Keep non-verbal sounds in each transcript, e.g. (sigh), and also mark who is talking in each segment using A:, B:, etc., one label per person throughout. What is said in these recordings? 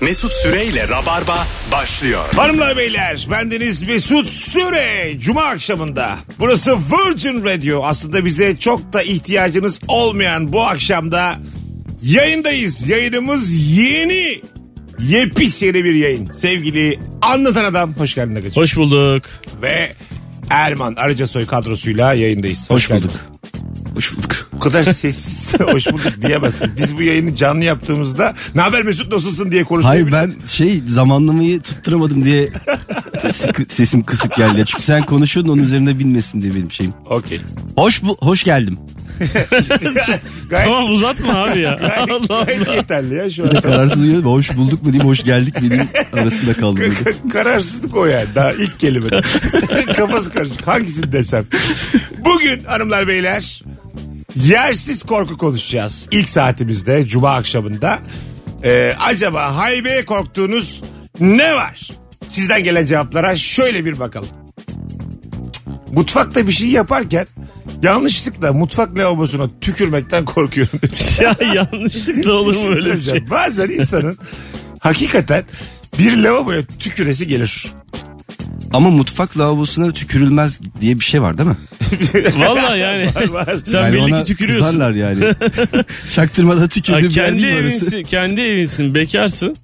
A: Mesut Süreyle Rabarba başlıyor.
B: Hanımlar beyler bendeniz Mesut Süre Cuma akşamında burası Virgin Radio aslında bize çok da ihtiyacınız olmayan bu akşamda yayındayız yayınımız yeni yepis yeni bir yayın sevgili anlatan adam hoş geldin Agacığım.
C: Hoş bulduk.
B: ve Erman Arıcasoy kadrosuyla yayındayız. Hoş, bulduk.
D: Hoş bulduk.
B: Bu kadar sessiz (laughs) hoş bulduk diyemezsin. Biz bu yayını canlı yaptığımızda ne haber Mesut nasılsın diye konuşuyoruz.
D: Hayır ben şey zamanlamayı tutturamadım diye sıkı- sesim kısık geldi. Çünkü sen konuşuyordun onun üzerine binmesin diye benim şeyim.
B: Okey. (laughs)
D: Hoş bu, hoş geldim.
B: Gayet,
C: Tamam uzatma abi
D: (laughs)
C: ya.
B: gayet,
C: Allah
B: gayet
C: Allah.
B: yeterli ya şu an. (laughs)
D: Böyle kararsız uyanıp hoş bulduk mu diyeyim hoş geldik mi diyeyim arasında kaldım.
B: Ka- ka- Kararsızlık o yani daha ilk kelime. (laughs) Kafası karışık hangisini desem. Bugün hanımlar beyler yersiz korku konuşacağız. İlk saatimizde cuma akşamında. Ee, acaba haybeye korktuğunuz ne var? Sizden gelen cevaplara şöyle bir bakalım. Mutfakta bir şey yaparken yanlışlıkla mutfak lavabosuna tükürmekten korkuyorum demiş.
C: Ya yanlışlıkla olur mu
B: Bir şey
C: öyle bir (laughs) şey?
B: söyleyeceğim. Bazen insanın hakikaten bir lavaboya tüküresi gelir.
D: (laughs) Ama mutfak lavabosuna tükürülmez diye bir şey var değil mi?
C: Valla yani.
B: Var, var.
C: Sen
D: Yani
C: belli
D: ona
C: ki tükürüyorsun. (laughs)
D: kızarlar yani. Çaktırmada
C: Ha,
D: tükürdüğüm yer
C: kendi
D: değil mi orası?
C: evinsin, kendi evinsin, bekarsın.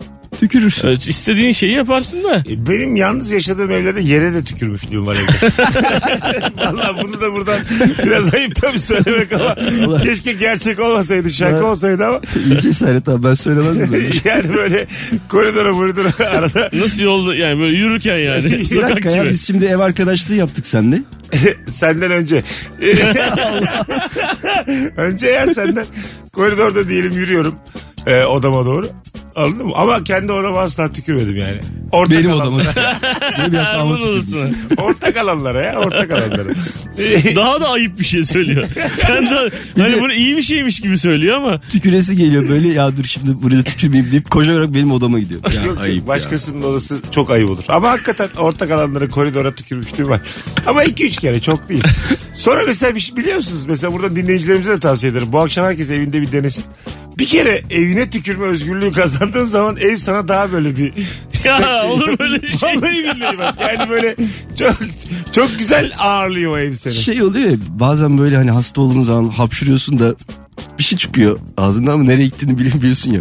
C: (laughs)
D: Tükürürsün.
C: Ee, İstediğin şeyi yaparsın da.
B: E, Benim yalnız yaşadığım evlerde yere de tükürmüşlüğüm var evde. (laughs) Valla bunu da buradan biraz ayıp tabii söylemek ama
D: Allah.
B: keşke gerçek olmasaydı şaka
D: Evet.
B: olsaydı ama
D: İyi cesaret abi ben söylemezdim böyle. şey?
B: yani böyle koridora koridora arada
C: Nasıl yolda yani böyle yürürken yani.
D: (laughs) Bir
C: sokak
D: dakika ya
C: gibi.
D: biz şimdi ev arkadaşlığı yaptık seninle.
B: senden önce. önce ya senden koridorda diyelim yürüyorum e, odama doğru. Anladın mı? Ama kendi odama asla tükürmedim yani. Ortak
D: Benim
B: alan-
D: odamı. Benim
C: Erman
D: yatağıma tükürdüm.
C: olsun.
B: Ortak alanlara ya ortak alanlara.
C: Daha da ayıp bir şey söylüyor. Kendi, hani bunu iyi bir şeymiş gibi söylüyor ama.
D: tüküresi geliyor böyle ya dur şimdi burada tükürmeyeyim deyip koşarak benim odama gidiyor. Ya
B: Yok, yok.
D: ayıp ya.
B: başkasının odası çok ayıp olur. Ama hakikaten ortak alanlara koridora tükürmüşlüğü var. (laughs) Ama 2-3 kere çok değil. Sonra mesela bir şey biliyor musunuz? Mesela burada dinleyicilerimize de tavsiye ederim. Bu akşam herkes evinde bir denesin. Bir kere evine tükürme özgürlüğü kazandığın zaman ev sana daha böyle
D: (laughs)
B: bir...
C: Ya olur mu öyle bir şey?
B: Vallahi billahi bak. Yani böyle çok çok güzel ağırlıyor o ev seni.
D: Şey oluyor ya bazen böyle hani hasta olduğun zaman hapşırıyorsun da bir şey çıkıyor ağzından ama nereye gittiğini bilmiyorsun ya.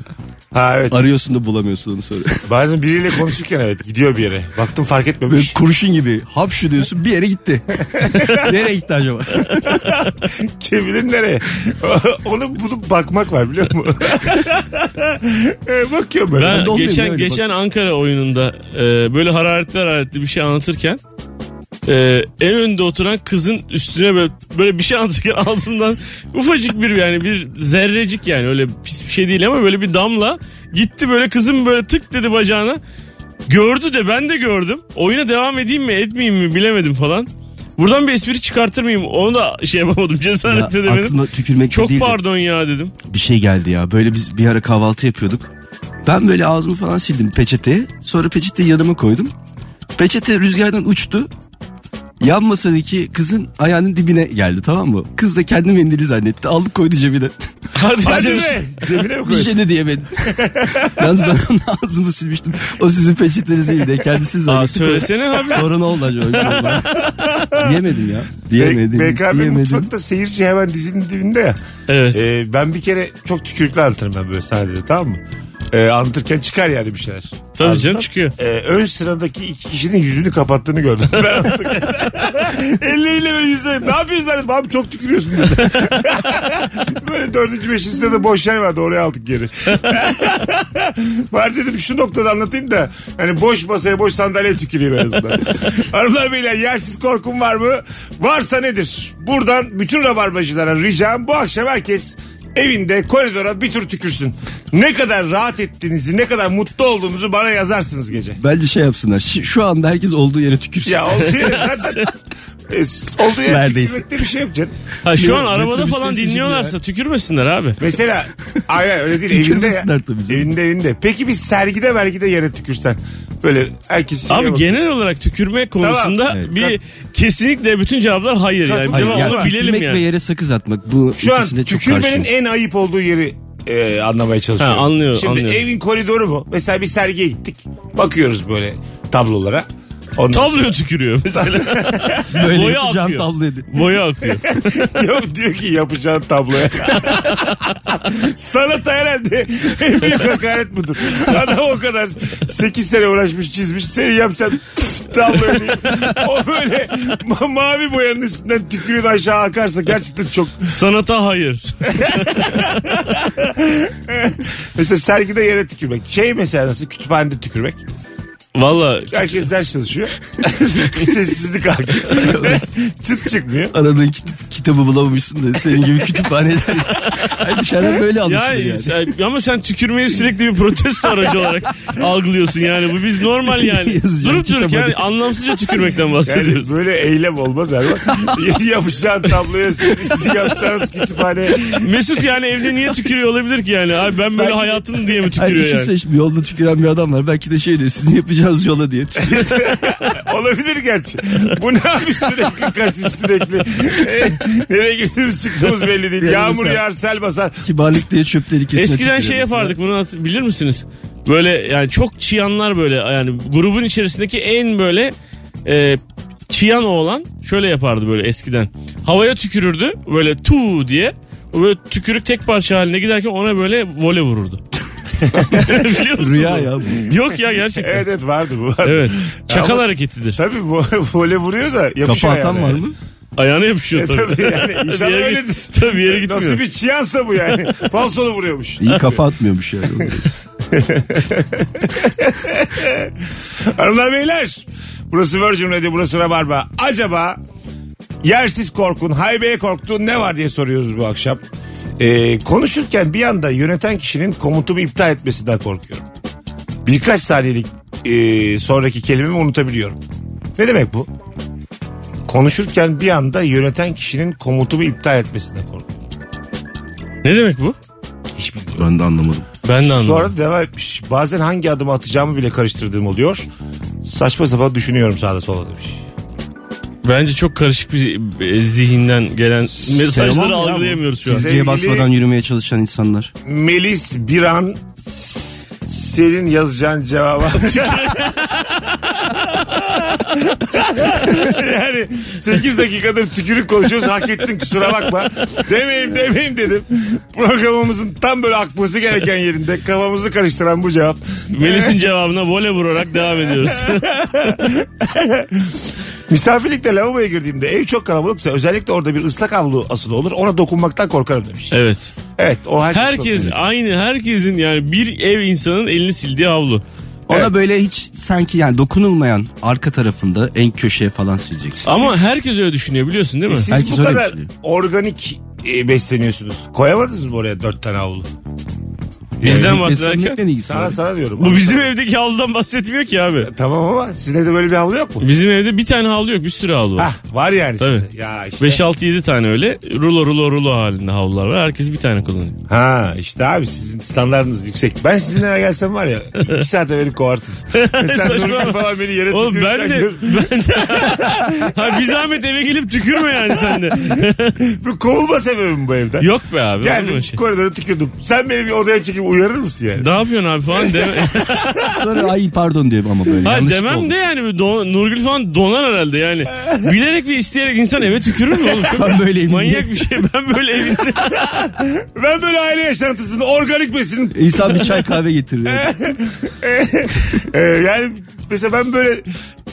B: Ha evet.
D: Arıyorsun da bulamıyorsun onu sonra.
B: Bazen biriyle konuşurken evet gidiyor bir yere. Baktım fark
D: Böyle
B: etmemiş.
D: kurşun gibi hapşırıyorsun bir yere gitti. nereye gitti acaba?
B: Kim bilir nereye. (laughs) Onu bulup bakmak var biliyor musun? (laughs) E, Bakıyorum böyle.
C: Ben
D: Ben de olmuyor
C: geçen
D: yani bak.
C: geçen Ankara oyununda e, böyle hararetli hararetli bir şey anlatırken e, en önde oturan kızın üstüne böyle, böyle bir şey anlatırken (laughs) ağzımdan ufacık bir yani bir zerrecik yani öyle pis bir şey değil ama böyle bir damla gitti böyle kızım böyle tık dedi bacağına gördü de ben de gördüm oyuna devam edeyim mi etmeyeyim mi bilemedim falan. Buradan bir espri çıkartır mıyım? Onu da şey yapamadım (laughs)
D: Ya,
C: cesaret edemedim.
D: aklıma tükürmek
C: Çok
D: değil de
C: pardon ya dedim.
D: bir şey geldi ya. Böyle biz bir ara kahvaltı yapıyorduk. Ben böyle ağzımı falan sildim peçeteye. Sonra peçeteyi yanıma koydum. Peçete rüzgardan uçtu. Yan masadaki kızın ayağının dibine geldi tamam mı? Kız da kendi mendili zannetti. Aldı koydu cebine. (laughs)
C: Hadi,
B: Hadi
C: canım.
B: be. Cebine mi
D: bir
B: koydun?
D: şey
C: (laughs)
D: de diyemedi. Yalnız ben onun ağzımı silmiştim. O sizin peçeteniz değil de kendisi
C: Aa,
D: zannetti.
C: söylesene abi.
D: (laughs) Sonra ne oldu acaba? Diyemedim ya. Diyemedim.
B: BKB
D: diyemedim.
B: mutfakta seyirci hemen dizinin dibinde ya.
C: Evet.
B: E, ben bir kere çok tükürükle anlatırım ben böyle sahnede tamam mı? E, anlatırken çıkar yani bir şeyler.
C: Tabii canım
B: Ağzından.
C: çıkıyor.
B: E, ön sıradaki iki kişinin yüzünü kapattığını gördüm. (laughs) Ben anlatırken. Elleriyle böyle yüzüne ne yapıyorsun zannettim abi çok tükürüyorsun dedi. (laughs) böyle dördüncü beşinci sırada boş yer vardı oraya aldık geri. Var dedim şu noktada anlatayım da hani boş masaya boş sandalyeye tüküreyim en
D: (laughs)
B: azından. Hanımlar beyler yersiz korkum var mı? Varsa nedir? Buradan bütün rabarbacılara ricam bu akşam herkes evinde koridora bir tur tükürsün. Ne kadar rahat ettiğinizi ne kadar mutlu olduğumuzu bana yazarsınız gece.
D: Bence şey yapsınlar. Şu şu anda herkes olduğu yere tükürsün.
B: Ya olduğu yere
D: (laughs)
B: zaten e, olduğu yere
D: Neredeyse.
B: tükürmekte bir şey yok canım.
C: Ha şu an
D: Yok,
C: arabada
D: metrobüs
C: falan
D: sesi şimdi
C: dinliyorlarsa tükürmesinler abi.
B: Mesela aynen öyle
D: (laughs)
B: değil evinde ya.
D: Tükürmesinler tabii canım.
B: Evinde evinde. Peki bir sergide vergide yere tükürsen. Böyle herkes şeye
C: Abi
B: bakıyor.
C: genel olarak tükürme konusunda
D: Evet.
C: bir kesinlikle bütün cevaplar hayır yani.
B: Katılıyorum.
C: Değil mi?
B: Hayır,
C: Onu
B: yani
C: bilelim
D: tükürmek ve
C: yani.
D: yere sakız atmak bu
B: Şu an
D: ikisine çok
B: tükürmenin
D: karşıyım.
B: en ayıp olduğu yeri e, anlamaya çalışıyorum.
C: Ha, anlıyorum,
B: Şimdi
C: anlıyorum.
B: evin koridoru bu. Mesela bir sergiye gittik. Bakıyoruz böyle tablolara. Ondan
C: Tabloya tükürüyor (laughs) mesela.
D: Böyle
C: Boya
D: yapacağım
C: akıyor.
D: tablo dedi.
C: Boya akıyor.
B: sonra- (laughs) Yok, diyor ki yapacağın tabloya. (laughs) Sanat herhalde en büyük hakaret budur. Adam o kadar 8 sene uğraşmış çizmiş. Seni yapacağın tabloya diye. O böyle ma- mavi boyanın üstünden tükürüğün aşağı akarsa gerçekten çok
C: Sanata hayır.
B: Mesela sergide yere tükürmek. Şey mesela nasıl kütüphanede tükürmek.
C: Valla
B: Herkes ders
C: (laughs)
B: çalışıyor. Sessizlik hakim. Çıt çıkmıyor.
D: Aradığın kit- kitabı bulamamışsın da senin gibi kütüphaneden. Ay dışarıdan böyle alışılır
C: yani,
D: yani.
C: sen- ama sen tükürmeyi sürekli bir protesto aracı olarak (laughs) algılıyorsun yani bu biz normal (laughs) yani
D: Yazacağım
C: durup durup
D: kitaba
C: yani
D: diye.
C: anlamsızca tükürmekten
B: Yani
C: bahsediyoruz.
B: böyle eylem olmaz abi.
C: (laughs)
B: Yapacağın tabloya sizin yapacağınız kütüphane.
C: Mesut yani evde niye tükürüyor olabilir ki yani abi ben böyle hayatım diye mi
D: Ay
C: tükürüyor yani?
D: düşünsene şimdi yolda tüküren bir adam var. Belki de şey diyor sizin yapacağınız yola diye.
B: Olabilir gerçi. Bu ne abi sürekli karşı sürekli. E, nereye girdiğimiz çıktığımız belli değil. Yağmur
D: sen-
B: yağar sel basar.
D: Kibarlık diye çöp tehlikesine
C: Eskiden
D: tükürüyor
C: şey
D: mesela.
C: yapardık bunu hat- bilir misiniz? Böyle yani çok çıyanlar böyle yani grubun içerisindeki en böyle e, çıyan oğlan şöyle yapardı böyle eskiden. Havaya tükürürdü böyle tu diye. O böyle tükürük tek parça haline giderken ona böyle
B: (laughs)
C: vole vururdu. Biliyor musunuz?
D: Rüya
C: onu?
D: ya bu.
C: Yok ya gerçekten.
B: Evet
C: Evet.
B: evet vardı bu. Vardı.
C: Çakal
B: Ama-
C: hareketidir.
B: Tabii vo- vole vuruyor da
D: Kapı
B: yapışıyor
D: atan
B: şey yani.
D: var mı?
C: Ayağına
B: E,
C: yapışıyor tabii.
B: tabii yani
C: (laughs) Bir
B: inşallah
C: yere
B: öyledir.
C: git- tabii bir yere gitmiyor.
B: Nasıl bir çiyansa bu yani. Falsolu
C: (laughs)
B: vuruyormuş.
D: İyi kafa atmıyormuş yani.
B: Hanımlar beyler. Burası Virgin Radio, burası Rabarba. Acaba yersiz korkun, haybeye korktuğun ne var diye soruyoruz bu akşam. Ee, konuşurken bir anda yöneten kişinin komutumu iptal etmesinden korkuyorum. Birkaç saniyelik e, sonraki kelimemi unutabiliyorum. Ne demek bu? Konuşurken bir anda yöneten kişinin komutumu iptal etmesinden korkuyorum.
C: Ne demek bu?
B: Hiç bilmiyorum.
D: ben de anlamadım.
C: Ben de anladım.
B: Sonra devam etmiş. Bazen hangi adımı atacağımı bile karıştırdığım oluyor. Saçma sapan düşünüyorum sağda solda demiş.
C: Bence çok karışık bir e, zihinden gelen
D: Sevmem
C: mesajları
D: ya bu.
C: algılayamıyoruz şu an.
B: Bize-
D: Çizgiye
B: Sevgili-
D: basmadan yürümeye çalışan insanlar.
B: Melis bir an s- senin yazacağın cevaba. (laughs) yani 8 dakikadır tükürük konuşuyoruz hak ettin kusura bakma. Demeyim demeyim dedim. Programımızın tam böyle akması gereken yerinde kafamızı karıştıran bu cevap.
C: Melis'in cevabına vole vurarak
B: (laughs)
C: devam ediyoruz.
B: Misafirlikte lavaboya girdiğimde ev çok kalabalıksa özellikle orada bir ıslak havlu asılı olur ona dokunmaktan korkarım demiş.
C: evet.
B: Evet o herkes.
C: Herkes
B: korkuyor.
C: aynı herkesin yani bir ev insanın elini sildiği havlu.
D: Ona
B: Evet.
D: böyle hiç sanki yani dokunulmayan arka tarafında en köşeye falan sileceksin.
C: Ama herkes öyle düşünüyor biliyorsun değil mi?
B: E, Siz
D: Herkes
B: bu
D: öyle
B: kadar
C: şey
D: düşünüyor.
B: organik e, besleniyorsunuz. Koyamadınız mı oraya dört tane havlu?
C: Bizden bahsederken.
D: Beslenmekle ilgisi
B: Sana
D: var.
B: sana diyorum.
C: Bu bizim evdeki havludan bahsetmiyor ki abi.
B: Tamam ama sizde de böyle bir havlu yok mu?
C: Bizim evde bir tane havlu yok bir sürü havlu var.
B: Hah var yani
C: Tabii.
B: sizde. Ya Ah, işte.
C: 5-6-7 tane öyle rulo rulo rulo halinde havlular var. Herkes bir
B: (laughs)
C: tane kullanıyor.
B: Ha işte abi sizin standartınız yüksek. Ben sizin eve gelsem var ya iki saate beni
C: (laughs)
B: kovarsınız. Sen Nurgül
C: Saçmalama.
B: falan beni yere
C: Oğlum ben de,
B: tükürürken
C: (laughs) ben de. (laughs) ha, bir zahmet eve gelip tükürme yani
B: (laughs)
C: sen de.
B: Bu kovulma sebebim bu evden.
C: Yok be abi. olur mu
B: Geldim
C: öyle şey?
B: koridora tükürdüm. Sen beni bir odaya çekip uyarır mısın yani?
C: Ne yapıyorsun abi falan deme.
B: (laughs)
D: Sonra ay pardon diyor ama böyle.
C: Ha,
D: yanlışlıkla
C: demem
D: oldu.
C: de yani bir don- Nurgül falan donar herhalde yani. Bilerek ve isteyerek insan eve tükürür mü oğlum?
B: (laughs)
C: Çok
D: Ben böyle evimde-
C: Manyak bir şey. Ben böyle evinde.
B: Ben böyle aile yaşantısını organik besin.
D: İnsan bir çay kahve getirir.
B: Ee, yani mesela ben böyle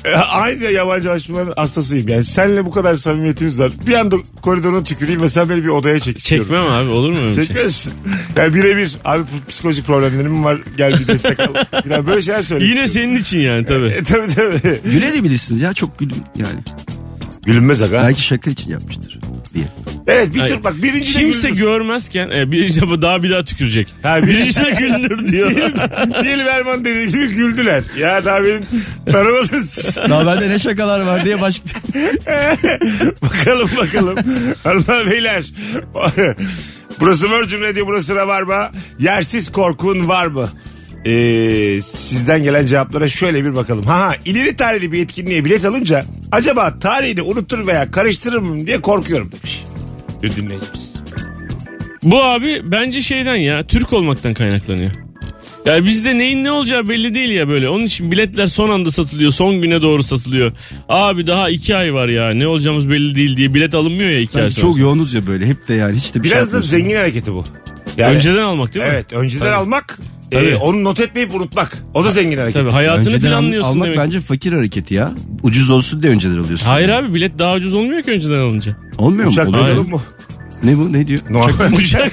B: e, aynı yabancılaşmaların hastasıyım. Yani seninle bu kadar samimiyetimiz var. Bir anda koridoruna tüküreyim ve sen beni bir odaya çek istiyorum.
C: Çekmem abi olur mu öyle şey?
B: Çekmez misin? Yani birebir abi bu psikolojik problemlerim var gel bir destek
C: (laughs)
B: al. Falan böyle şeyler söyle.
C: Yine senin için yani tabii.
B: E, tabii tabii.
D: Gülebilirsiniz ya çok gülün yani.
B: Gülünmez aga.
D: Belki şaka için yapmıştır diye.
B: Evet bir
C: Ay.
B: tür bak birinci de
C: Kimse
B: gülünür.
C: görmezken e, birinci defa daha bir (laughs) daha tükürecek.
B: Ha, bir-
C: birinci de gülünür diyor.
B: (laughs) Diyelim Erman dediği gibi (laughs) güldüler. Ya daha benim
C: (laughs)
B: tanımadınız.
D: Daha bende ne şakalar var diye başka.
B: (laughs) bakalım
C: (laughs)
B: bakalım. Hanımlar beyler. burası Virgin Radio burası Rabarba. Yersiz korkun var mı? Ee, sizden gelen cevaplara şöyle bir bakalım. Ha, ha ileri tarihli bir etkinliğe bilet alınca acaba tarihini unutur veya karıştırır mı diye korkuyorum demiş. Bir dinleyicimiz.
C: Bu abi bence şeyden ya Türk olmaktan kaynaklanıyor. Ya bizde neyin ne olacağı belli değil ya böyle. Onun için biletler son anda satılıyor. Son güne doğru satılıyor. Abi daha iki ay var ya. Ne olacağımız belli değil diye bilet alınmıyor ya iki ay
D: Yani
C: sonra.
D: çok yoğunuz ya böyle hep de yani hiç de bir şey
B: Biraz da
D: yapmıyorsun.
B: zengin hareketi bu. Yani,
C: Önceden almak değil mi?
B: Evet önceden almak e,
C: Tabii.
B: onu not etmeyip unutmak. O da zengin hareket.
C: Tabii hayatını
D: Önceden al-
C: planlıyorsun
D: almak
C: demek.
D: bence fakir hareketi ya. Ucuz olsun diye önceden alıyorsun.
C: Hayır abi bilet daha ucuz olmuyor ki önceden alınca.
D: Olmuyor
B: Uçak
D: mu? Oluyor.
C: Hayır.
B: yolculuk mu?
D: Ne (laughs) bu ne diyor?
C: (laughs)
B: Normal.
C: Uçak.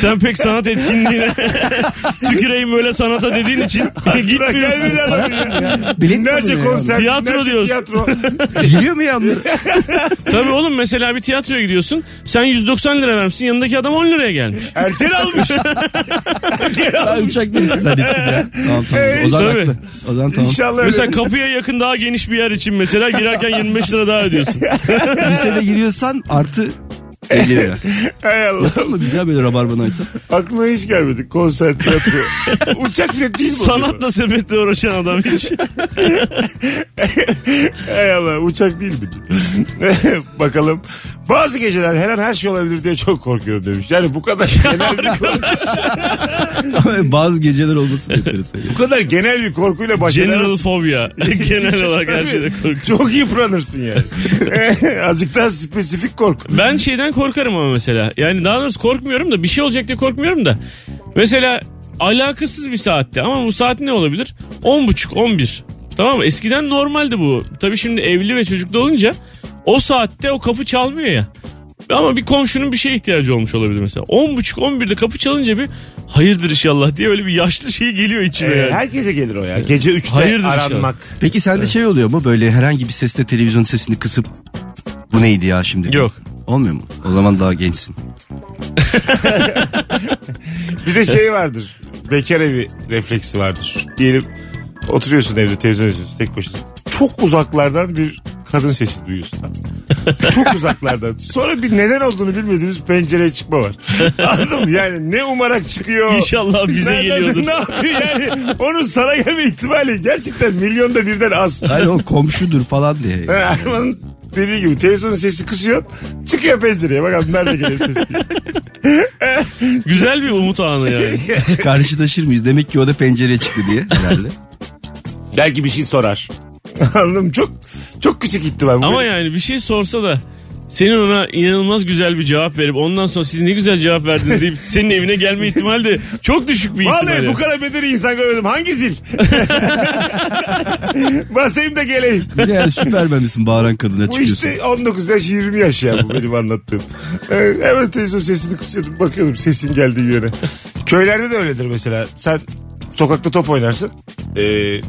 C: Sen pek sanat
D: (laughs)
C: etkinliğine tüküreyim böyle sanata dediğin için gitmiyorsun.
B: Gelmedi
C: (laughs)
B: adam ya.
D: (laughs) Bilet mi
B: Binlerce
D: alıyor ya?
B: konser.
C: Tiyatro
B: binlerce
C: diyorsun.
B: Tiyatro.
D: Giriyor mu yanları?
C: Tabii oğlum mesela bir tiyatroya gidiyorsun. Sen 190 lira vermişsin yanındaki adam 10 liraya gelmiş.
B: Erken almış. Erken
D: Ben
B: almış.
D: uçak bileti zannettim ya. Tamam tamam. O zaman
C: Tabii.
D: haklı. O zaman tamam.
B: İnşallah
C: Mesela
B: öyle.
C: kapıya yakın daha geniş bir yer için mesela girerken 25 lira daha ödüyorsun.
D: Lisede giriyorsan artı 50 lira.
B: Hay Allah.
D: Oğlum biz ya böyle rabarbanı açtık.
B: Aklıma hiç gelmedi. Konser,
C: (laughs)
B: tiyatro. Uçak bile değil bu.
C: Sanatla sepetle uğraşan adam hiç.
B: Hay Allah uçak değil mi? (laughs) Bakalım. Bazı geceler her an her şey olabilir diye çok korkuyorum demiş. Yani bu kadar
C: (laughs)
B: genel bir,
D: Ama bazı geceler olmasın yeteriz.
B: bu kadar genel bir korkuyla baş
C: General
B: edemezsin.
C: fobia. Genel olarak
B: (laughs)
C: her
B: Tabii.
C: şeyde korkuyorum.
B: Çok yıpranırsın yani. (laughs)
C: (laughs)
B: Azıcık daha spesifik korku.
C: Ben şeyden korkarım ama mesela. Yani daha doğrusu korkmuyorum da bir şey olacak diye korkmuyorum da. Mesela alakasız bir saatte ama bu saat ne olabilir? 10.30 11. Tamam mı? Eskiden normaldi bu. Tabii şimdi evli ve çocuklu olunca o saatte o kapı çalmıyor ya. Ama bir komşunun bir şeye ihtiyacı olmuş olabilir mesela. 10.30 11'de kapı çalınca bir hayırdır inşallah diye öyle bir yaşlı şey geliyor içime
B: Ee,
C: yani.
B: herkese gelir o ya. Gece 3'te
C: Hayırdır
B: aranmak.
D: Peki sende şey oluyor mu böyle herhangi bir sesle televizyon sesini kısıp bu neydi ya şimdi?
C: Yok.
D: Olmuyor mu? O zaman
B: (laughs)
D: daha gençsin.
B: Bir de şey vardır. Bekar evi refleksi vardır. Diyelim oturuyorsun evde televizyon izliyorsun tek başına. Çok uzaklardan bir kadın sesi duyuyorsun.
C: (laughs)
B: Çok uzaklardan. Sonra bir neden olduğunu bilmediğimiz pencereye çıkma var. Anladın mı? Yani ne umarak çıkıyor.
C: İnşallah bize
B: Nereden- (laughs)
C: geliyordur.
B: Ne yapıyor yani? Onun sana gelme ihtimali gerçekten milyonda birden
C: (laughs)
B: az.
D: Hayır o komşudur falan diye.
B: Ha, Erman'ın dediği gibi televizyonun sesi kısıyor. Çıkıyor pencereye. Bakalım nerede geliyor ses diye. (laughs)
C: Güzel bir umut anı yani.
D: Karşılaşır mıyız? Demek ki o da pencereye çıktı diye herhalde.
B: Belki bir şey sorar. Anladım. Çok çok küçük ihtimal. Bu
C: Ama
B: benim-
C: yani bir şey sorsa da senin ona inanılmaz güzel bir cevap verip ondan sonra siz ne güzel cevap verdiniz deyip senin evine gelme ihtimali de çok düşük bir ihtimal.
B: Vallahi
C: yani.
B: bu kadar bedeli insan görmedim. Hangi zil? (laughs) Basayım da geleyim.
D: Bir de yani süpermen misin bağıran kadına
B: Bu
D: çıkıyorsun.
B: işte 19 yaş 20 yaş ya bu benim anlattığım. Ee, hemen televizyon sesini kısıyordum bakıyordum sesin geldiği yöne. Köylerde de öyledir mesela. Sen sokakta top oynarsın. Ee,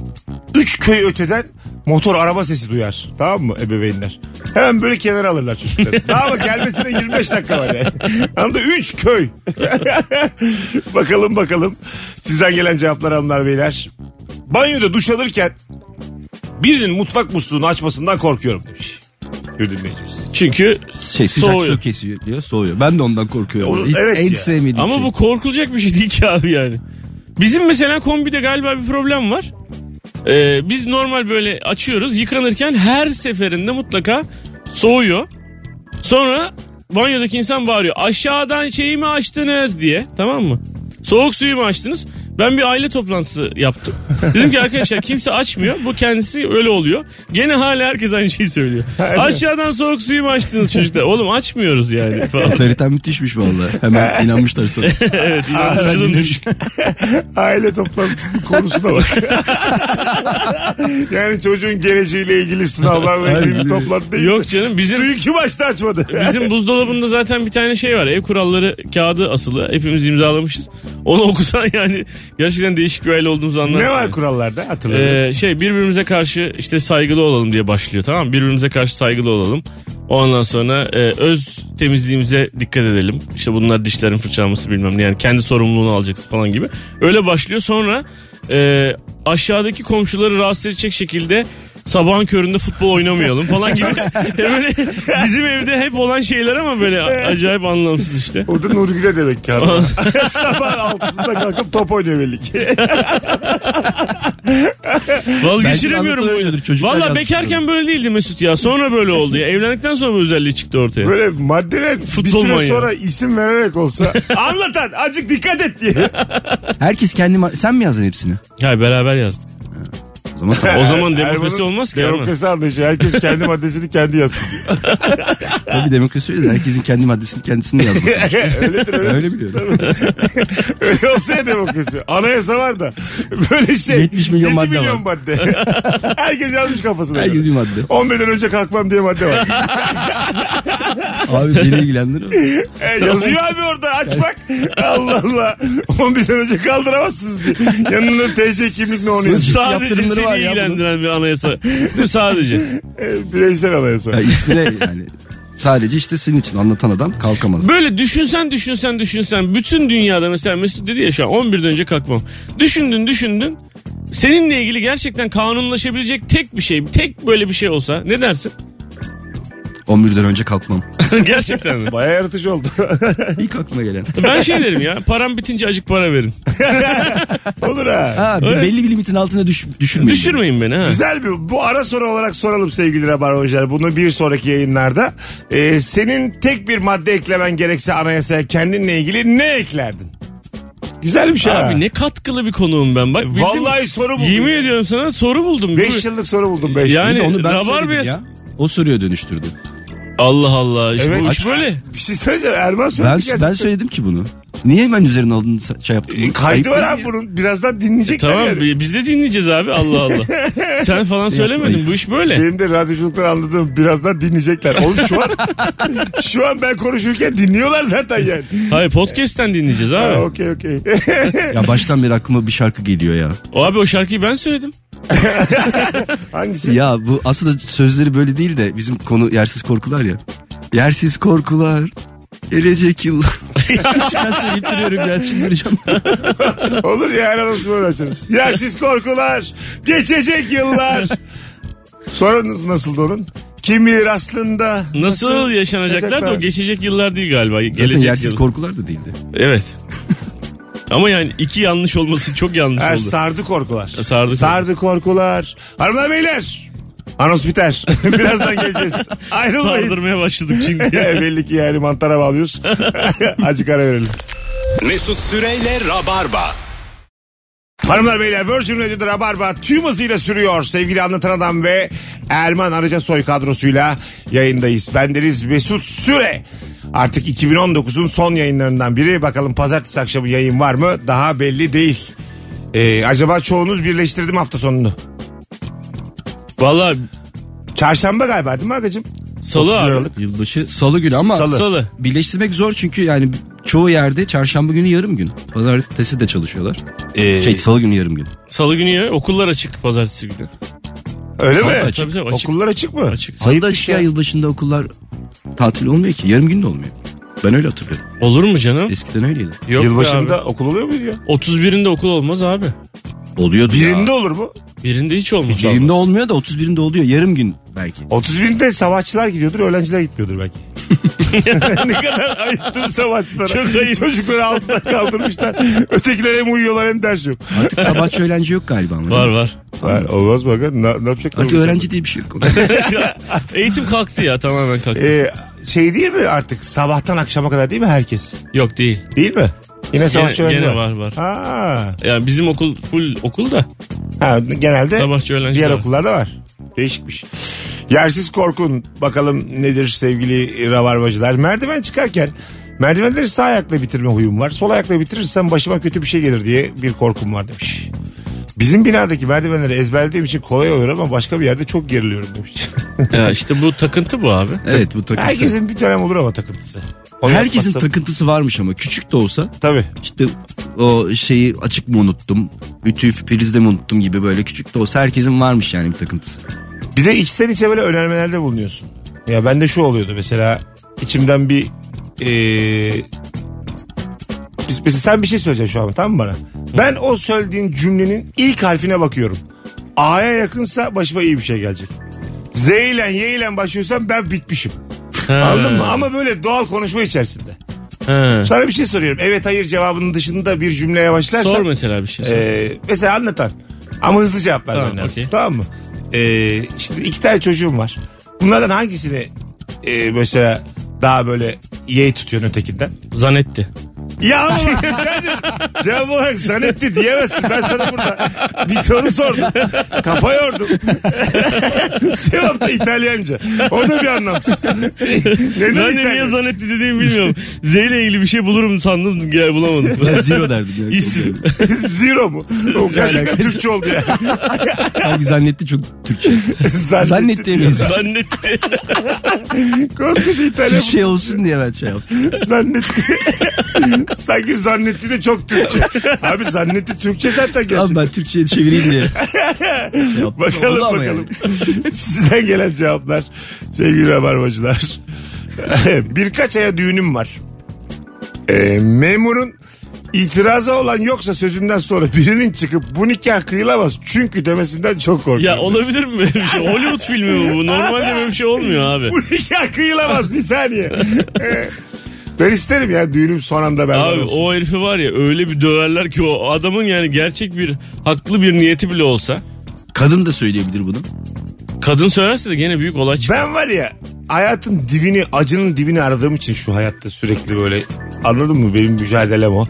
B: üç köy öteden motor araba sesi duyar. Tamam mı ebeveynler? Hemen böyle kenara alırlar çocukları. Daha mı gelmesine 25 dakika var yani. Anladın? Üç köy. (laughs) bakalım bakalım. Sizden gelen cevaplar hanımlar beyler. Banyoda duş alırken birinin mutfak musluğunu açmasından korkuyorum demiş. Bir (laughs) dinleyicimiz.
C: Çünkü
D: şey sıcak
C: Soğuyor.
D: su kesiyor diyor soğuyor. Ben de ondan korkuyorum.
B: Onu-
D: Hiç-
B: evet
D: en
B: ya.
D: sevmediğim
C: ama
D: şey.
C: bu korkulacak bir şey değil ki abi yani. Bizim mesela kombide galiba bir problem var. Ee, biz normal böyle açıyoruz yıkanırken her seferinde mutlaka soğuyor. Sonra banyodaki insan bağırıyor aşağıdan şeyi mi açtınız diye tamam mı? Soğuk suyu mu açtınız? Ben bir aile toplantısı yaptım. Dedim ki arkadaşlar kimse açmıyor. Bu kendisi öyle oluyor. Gene hala herkes aynı şeyi söylüyor. Aşağıdan soğuk suyu mu açtınız çocuklar? Oğlum açmıyoruz yani falan.
D: Otoriten müthişmiş vallahi.
B: (laughs)
D: Hemen inanmışlar sana.
C: evet inandırıcılığın düşük.
B: Aile toplantısının konusu
C: (laughs)
B: da var. yani çocuğun geleceğiyle ilgili sınavlar ve ilgili bir toplantı değil.
C: Yok canım bizim
B: Suyu kim açtı açmadı.
C: bizim buzdolabında zaten bir tane şey var. Ev kuralları kağıdı asılı. Hepimiz imzalamışız. Onu okusan yani gerçekten değişik bir aile olduğumuzu anlarsın.
B: ne var kurallarda hatırlamıyorum.
C: Ee, şey birbirimize karşı işte saygılı olalım diye başlıyor tamam mı? Birbirimize karşı saygılı olalım. Ondan sonra e, öz temizliğimize dikkat edelim. İşte bunlar dişlerin fırçalanması bilmem ne yani kendi sorumluluğunu alacaksın falan gibi. Öyle başlıyor sonra e, aşağıdaki komşuları rahatsız edecek şekilde sabahın köründe futbol oynamayalım falan gibi. (laughs) E, böyle bizim evde hep olan şeyler ama böyle acayip anlamsız işte.
B: O da Nurgül'e
C: (laughs)
B: demek ki. hanım. Sabah altısında kalkıp top oynuyor belli ki.
C: Vazgeçiremiyorum bu
D: anlatılan öyledir,
C: oyunu.
D: çocuklar
C: Valla
D: yazmış
C: bekarken böyle değildi Mesut ya. Sonra böyle oldu ya. Evlendikten sonra bu özelliği çıktı ortaya.
B: Böyle maddeler bir
C: Futbol
B: süre
C: manyağı.
B: sonra isim vererek
C: (laughs)
B: olsa anlatan azıcık dikkat et diye.
D: Herkes kendi ma- sen mi yazdın hepsini?
C: Ya beraber yazdık.
D: O zaman tamam.
C: O zaman
B: Erman'ın
C: demokrasi olmaz ki. Erman.
B: Demokrasi anlayışı. Herkes kendi maddesini kendi
C: (laughs)
B: yazsın.
D: O bir demokrasi öyle de herkesin kendi maddesini kendisini yazması.
B: Öyledir öyle.
D: öyle biliyorum.
B: Öyle olsa ya demokrasi. Anayasa var da. Böyle şey.
D: 70 milyon
B: yedi
D: madde
B: milyon
D: var.
B: madde. Herkes yazmış kafasına.
D: Herkes bir madde.
B: 11'den önce kalkmam diye madde var.
D: (laughs) Abi beni ilgilendirir.
B: E, yazıyor abi orada aç bak. Allah Allah. 11'den önce kaldıramazsınız diye. Yanında TC kimlik ne onu yazıyor.
C: Sadece
D: Yaptırımları
C: seni
D: var ya bunun.
C: ilgilendiren bir anayasa. Bu sadece.
B: E, bireysel anayasa.
D: Ya ismine yani. Sadece işte senin için anlatan adam kalkamaz.
C: Böyle düşünsen düşünsen düşünsen bütün dünyada mesela Mesut dedi ya şu an 11'den önce kalkmam. Düşündün düşündün. Seninle ilgili gerçekten kanunlaşabilecek tek bir şey, tek böyle bir şey olsa ne dersin? (laughs)
D: 11'den önce kalkmam.
C: gerçekten mi?
B: Baya yaratıcı oldu. (laughs)
D: İlk aklıma gelen.
C: Ben şey derim ya param bitince acık para verin.
B: Olur ha.
D: Ha,
C: Evet.
D: belli bir limitin altına düş, düşürmeyin.
C: Düşürmeyin beni ha.
B: Güzel bir bu ara soru olarak soralım sevgili Rabarbacılar. Bunu bir sonraki yayınlarda. E, senin tek bir madde eklemen gerekse anayasaya kendinle ilgili ne eklerdin? Güzel bir şey ha.
C: Abi ne katkılı bir konuğum ben bak. bildin mi?
B: Vallahi soru buldum.
C: Yemin ediyorum sana soru buldum.
B: 5
C: Bu-
B: yıllık soru buldum 5
C: Yani-
D: Hani Bir de onu ben
C: Rabar
D: söyledim
C: Bey-
D: ya. O soruya dönüştürdü.
C: Allah Allah. işte
B: Evet.
C: bu iş böyle.
B: Bir şey söyleyeceğim. Erman söyledi
D: Ben,
B: gerçekten.
D: ben söyledim ki bunu. Niye hemen üzerine aldın sa- şey yaptın?
B: E,
D: bunu?
B: Kaydı
D: Ayıp
B: var
D: değil
B: abi
D: mi?
B: bunun. Birazdan dinleyecekler
C: E, Tamam
B: yani.
C: bi- biz de dinleyeceğiz abi Allah
B: (laughs)
C: Allah. Sen falan söylemedin
D: ayıp.
C: bu iş böyle.
B: Benim de radyoculuktan anladığım birazdan dinleyecekler. Oğlum şu
C: (laughs)
B: an şu an ben konuşurken dinliyorlar zaten yani.
C: Hayır podcast'ten dinleyeceğiz
B: Ha,
C: abi.
B: Okey okey. (laughs)
D: Ya baştan beri aklıma bir şarkı geliyor ya.
C: O abi o şarkıyı ben söyledim.
B: Hangisi?
D: Ya bu aslında sözleri böyle değil de bizim konu yersiz korkular ya. Yersiz korkular. Gelecek (laughs) yıl. Hiç ben seni bitiriyorum ya çıldıracağım.
B: Olur ya her anonsu böyle açarız. Yersiz korkular. Geçecek yıllar. Sorunuz nasıldı onun? Kim bilir aslında.
C: Nasıl, yaşanacaklar da o geçecek yıllar değil galiba.
D: Zaten
C: Gelecek
D: yersiz
C: yıl.
D: korkular da değildi.
C: evet.
B: (laughs)
C: Ama yani iki yanlış olması çok yanlış
B: Ha,
C: oldu.
B: sardı korkular.
C: sardı.
B: Sardı korkular. Hanımlar beyler. Anons
C: (laughs)
B: biter. Birazdan geleceğiz. (laughs) Ayrılmayın.
C: Sardırmaya başladık çünkü.
B: Belli ki yani mantara
C: (laughs)
B: bağlıyoruz. Acık ara verelim.
A: Mesut Süreyle Rabarba.
B: Hanımlar beyler Virgin Radio'da Rabarba tüm hızıyla sürüyor. Sevgili Anlatan Adam ve Erman Araca Soy kadrosuyla yayındayız. Bendeniz Mesut Süre. Artık 2019'un son yayınlarından biri. Bakalım pazartesi akşamı yayın var mı? Daha belli değil. Ee, acaba çoğunuz birleştirdim hafta sonunu.
C: Valla
B: Çarşamba galiba değil mi Agacım?
C: salı
B: 31
C: abi.
B: Aralık.
D: Yılbaşı salı günü ama
B: Salı.
C: Salı.
D: birleştirmek zor çünkü yani çoğu yerde çarşamba günü yarım gün. Pazartesi de çalışıyorlar. şey salı günü yarım gün.
C: Salı günü ya okullar açık pazartesi günü.
B: Öyle mi?
D: Salı açık.
C: Tabii tabii açık.
B: Okullar açık mı?
C: Açık.
D: Ayıp
B: bir
D: şey. ya yılbaşında okullar tatil olmuyor ki. Yarım gün de olmuyor. Ben öyle hatırlıyorum.
C: Olur mu canım?
D: Eskiden öyleydi.
C: Yok Yılbaşında...
B: Yılbaşında okul oluyor mu ya?
C: 31'inde okul olmaz abi.
D: Oluyordu
B: Birinde olur mu?
C: Birinde hiç olmaz.
D: ya. Birinde olmuyor da 31'inde oluyor. Yarım gün belki.
B: 30 binde savaşçılar gidiyordur, öğrenciler gitmiyordur
C: (laughs)
B: belki. ne kadar ayıptır savaşçılara.
C: Çok ayıp.
B: Çocukları altına kaldırmışlar. Ötekiler hem uyuyorlar hem ders yok.
D: Artık sabahçı öğrenci yok galiba. ama.
C: Var var.
B: Ha, olmaz bak. Ne, ne yapacaklar?
D: Artık
B: bu
D: öğrenci diye bir şey
C: (laughs)
D: yok.
C: Eğitim kalktı ya tamamen kalktı.
B: insanlar? Ee, şey değil mi artık sabahtan akşama kadar değil mi herkes?
C: Yok değil.
B: Değil mi? Yine
C: Gene,
B: savaşçı öğrenci
C: gene
B: var.
C: var var.
B: Ha.
C: Yani bizim okul full okul da
B: ha, genelde
C: sabahçı öğrenci
B: diğer
C: de var.
B: okullarda var. Değişikmiş. Yersiz korkun bakalım nedir sevgili rabarbacılar. Merdiven çıkarken merdivenleri sağ ayakla bitirme huyum var. Sol ayakla bitirirsem başıma kötü bir şey gelir diye bir korkum var demiş. Bizim binadaki merdivenleri ezberlediğim için kolay olur ama başka bir yerde çok geriliyorum demiş.
C: Ya işte bu takıntı bu abi.
D: evet bu takıntı.
B: Herkesin bir dönem olur ama takıntısı. Onu
D: Herkesin
B: yapmazsam-
D: takıntısı varmış ama küçük de olsa
B: Tabii.
D: işte o şeyi açık mı unuttum, ütüyü prizde mi unuttum gibi böyle küçük de olsa herkesin varmış yani bir (laughs) takıntısı.
B: Bir de içten içe böyle önermelerde bulunuyorsun. Ya bende şu oluyordu mesela içimden bir eee biz- mesela sen bir şey söyleyeceksin şu an tamam mı bana? Ben o söylediğin cümlenin ilk harfine bakıyorum. A'ya yakınsa başıma iyi bir şey gelecek. Z ile Y ile başlıyorsam ben bitmişim. Anladın mı? Ama böyle doğal konuşma içerisinde.
C: Ha.
B: Sana bir şey soruyorum. Evet hayır cevabının dışında bir cümleye başlarsan.
C: Sor mesela bir şey. Sor.
B: eee, Ee, mesela anlatan. Ama hızlı cevap vermen
C: Tamam,
B: lazım.
C: okey.
B: Tamam mı? Ee, işte iki tane çocuğum var. Bunlardan hangisini e, mesela daha böyle yeğ tutuyorsun ötekinden?
C: Zanetti.
B: Ya ama bak,
C: (laughs)
B: Kadir, cevap olarak zannetti diyemezsin. Ben sana burada bir soru sordum. Kafa yordum. (laughs) cevap da İtalyanca. O da bir anlamsız. Neden
C: Ben de niye
B: İtalyan-
C: zanetti dediğimi bilmiyorum. Z ile ilgili bir şey bulurum sandım. Gel
D: (laughs)
C: bulamadım.
D: Ben zero derdim. Ya.
C: İsim.
B: Zero mu? O gerçekten Türkçe oldu ya.
D: Sanki zannetti çok Türkçe.
B: Zannetti.
D: zannetti miyiz?
C: Zannetti.
B: Koskoca İtalyan bu.
D: Türkçe olsun diye ben şey yaptım.
B: zannetti. (laughs) Sanki zannetti de çok Türkçe. Abi zannetti Türkçe zaten gerçek.
D: Lan ben Türkçe'ye
C: (laughs)
D: çevireyim diye. Şey Yaptım.
B: Bakalım
D: Oldu ama
B: bakalım. (laughs) Sizden gelen cevaplar sevgili rabarbacılar. (laughs) Birkaç aya düğünüm var. Ee, memurun itirazı olan yoksa sözünden sonra birinin çıkıp bu nikah kıyılamaz çünkü demesinden çok korkuyorum.
C: ya olabilir mi böyle bir şey? Hollywood filmi mi bu? Normalde böyle bir şey olmuyor abi.
B: Bu nikah kıyılamaz bir
C: (laughs)
B: saniye. Ee, ben isterim ya düğünüm son anda ben
C: Abi o herifi var ya öyle bir döverler ki o adamın yani gerçek bir haklı bir niyeti bile olsa
D: Kadın da söyleyebilir bunu.
C: kadın söylerse de gene büyük olay çıkar.
B: Ben var ya hayatın dibini acının dibini aradığım için şu hayatta sürekli böyle anladın mı benim mücadelem o.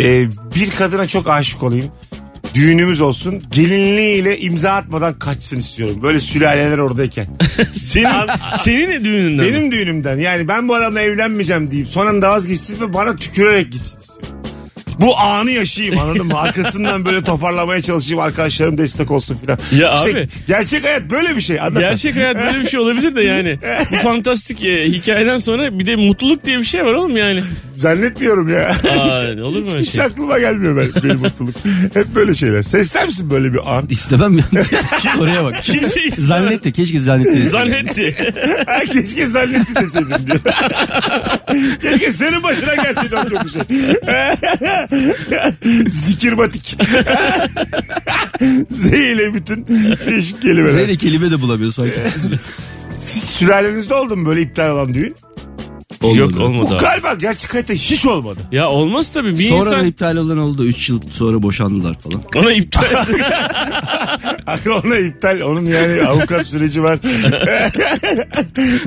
B: Ee, bir kadına çok aşık olayım. Düğünümüz olsun. Gelinliğiyle imza atmadan kaçsın istiyorum. Böyle sülaleler oradayken.
C: (laughs) Senin, senin ne düğününden? mi?
B: Benim düğünümden. Yani ben bu adamla evlenmeyeceğim deyip son anda vazgeçsin ve bana tükürerek gitsin istiyorum. Bu anı yaşayayım anladın
C: (laughs)
B: mı? Arkasından böyle toparlamaya çalışayım. Arkadaşlarım destek olsun filan.
C: Ya abi.
B: Gerçek hayat böyle bir şey. Anladın mı?
C: Gerçek hayat böyle bir şey olabilir de yani. Bu fantastik e, hikayeden sonra bir de mutluluk diye bir şey var oğlum yani.
B: Zannetmiyorum ya.
C: Aa, olur mu öyle
B: Hiç
C: şey?
B: aklıma gelmiyor benim, benim
C: (laughs)
B: mutluluk. Hep böyle şeyler. Sen ister misin böyle bir an?
D: İstemem yani. Oraya bak.
C: Kimse istemez.
D: Zannetti. Keşke
C: (laughs)
D: zannetti.
C: Zannetti.
B: Ha, Keşke zannetti deseydin
C: (laughs)
B: diyor. Keşke senin başına gelseydi o kötü şey. (laughs) Zikirmatik. (laughs) Z ile bütün değişik kelimeler.
D: Zeyne kelime de bulamıyoruz fark
B: Siz Sülalenizde oldu mu böyle iptal olan düğün?
C: Yok olmadı
B: Bu
C: abi.
B: galiba gerçek hayatta hiç olmadı.
C: Ya olmaz tabii bir
D: Sonra da
C: insan
D: iptal olan oldu. 3 yıl sonra boşandılar (laughs) falan.
C: ona iptal
B: Ona iptal. Onun yani avukat süreci
C: (laughs)
B: var.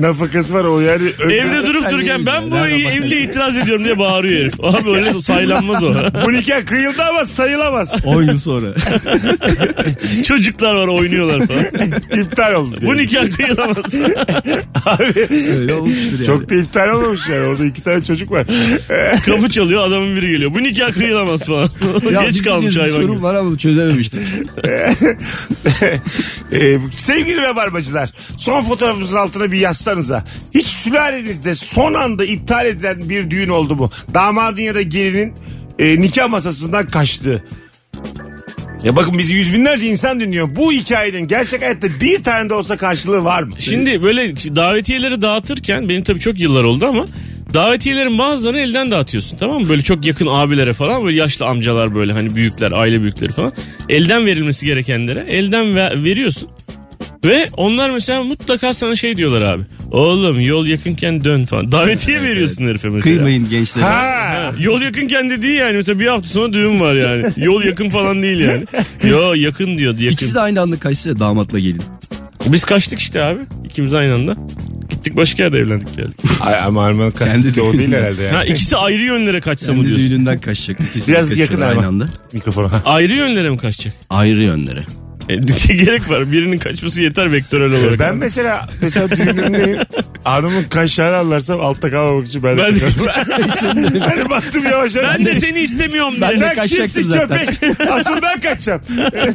B: (laughs) Nafakası var o yani.
C: evde durup
D: iptal
C: dururken
D: değil
C: ben
D: ya.
C: bu
D: Nereden bakarsın?
C: evliliğe itiraz ediyorum diye bağırıyor herif. Abi öyle
B: (laughs)
C: saylanmaz o.
B: Bu nikah kıyıldı ama sayılamaz.
D: 10 yıl sonra.
C: Çocuklar var oynuyorlar falan.
B: (laughs) İptal oldu. diye.
C: Bu nikah kıyılamaz.
D: (laughs) Öyle olmuştur
B: (laughs)
D: yani.
B: Çok da iptal olmamış yani. Orada iki tane çocuk var. (laughs)
C: Kapı çalıyor adamın biri geliyor. Bu nikah kıyılamaz falan.
D: Ya
C: Geç
D: bizim
C: kalmış
D: de bir
C: hayvan gibi.
D: sorun var ama çözememiştik.
B: Ee, sevgili rabarbacılar son fotoğrafımızın altına bir yazsanıza. Hiç sülalenizde son anda iptal edilen bir düğün oldu mu? Damadın ya da gelinin e, nikah masasından kaçtı. Ya bakın bizi yüz binlerce insan dinliyor. Bu hikayenin gerçek hayatta bir tane de olsa karşılığı var mı?
C: Şimdi böyle davetiyeleri dağıtırken benim tabii çok yıllar oldu ama davetiyelerin bazılarını elden dağıtıyorsun tamam mı? Böyle çok yakın abilere falan böyle yaşlı amcalar böyle hani büyükler aile büyükleri falan. Elden verilmesi gerekenlere elden ve- veriyorsun. Ve onlar mesela mutlaka sana şey diyorlar abi. Oğlum yol yakınken dön falan. Davetiye veriyorsun herife mesela.
D: (laughs) Kıymayın gençlere.
B: Ha.
C: Yol yakınken de değil yani. Mesela bir hafta sonra düğün var yani. Yol yakın falan değil yani. Yo yakın diyor. Yakın.
D: İkisi de aynı anda kaçsa damatla gelin.
C: Biz kaçtık işte abi. İkimiz aynı anda. Gittik başka yerde evlendik geldik.
B: Ay, ama Arman'ın kastı
D: Kendi
B: o değil
D: düğünü.
B: herhalde yani.
C: Ha, ikisi ayrı yönlere kaçsa mı
D: Kendi
C: diyorsun?
D: düğününden kaçacak. İkisi de
B: Biraz
D: kaçıyor
B: yakın
D: aynı
B: ama.
D: anda.
B: Mikrofonu. Ha.
C: Ayrı yönlere mi kaçacak?
D: Ayrı yönlere.
C: E, (laughs) ne gerek var. Birinin kaçması yeter vektörel olarak.
B: Ee, Ben mesela mesela düğünümdeyim. Hanımın kaşlarını anlarsam altta kalmamak için ben de
C: Ben de-
B: kaçarım. (laughs) hani baktım yavaş yavaş. Hani
C: Ben de seni istemiyorum ben
D: Ben de-
B: sen kimsin
D: kaçacaktım zaten.
B: köpek? Asıl ben kaçacağım. (laughs)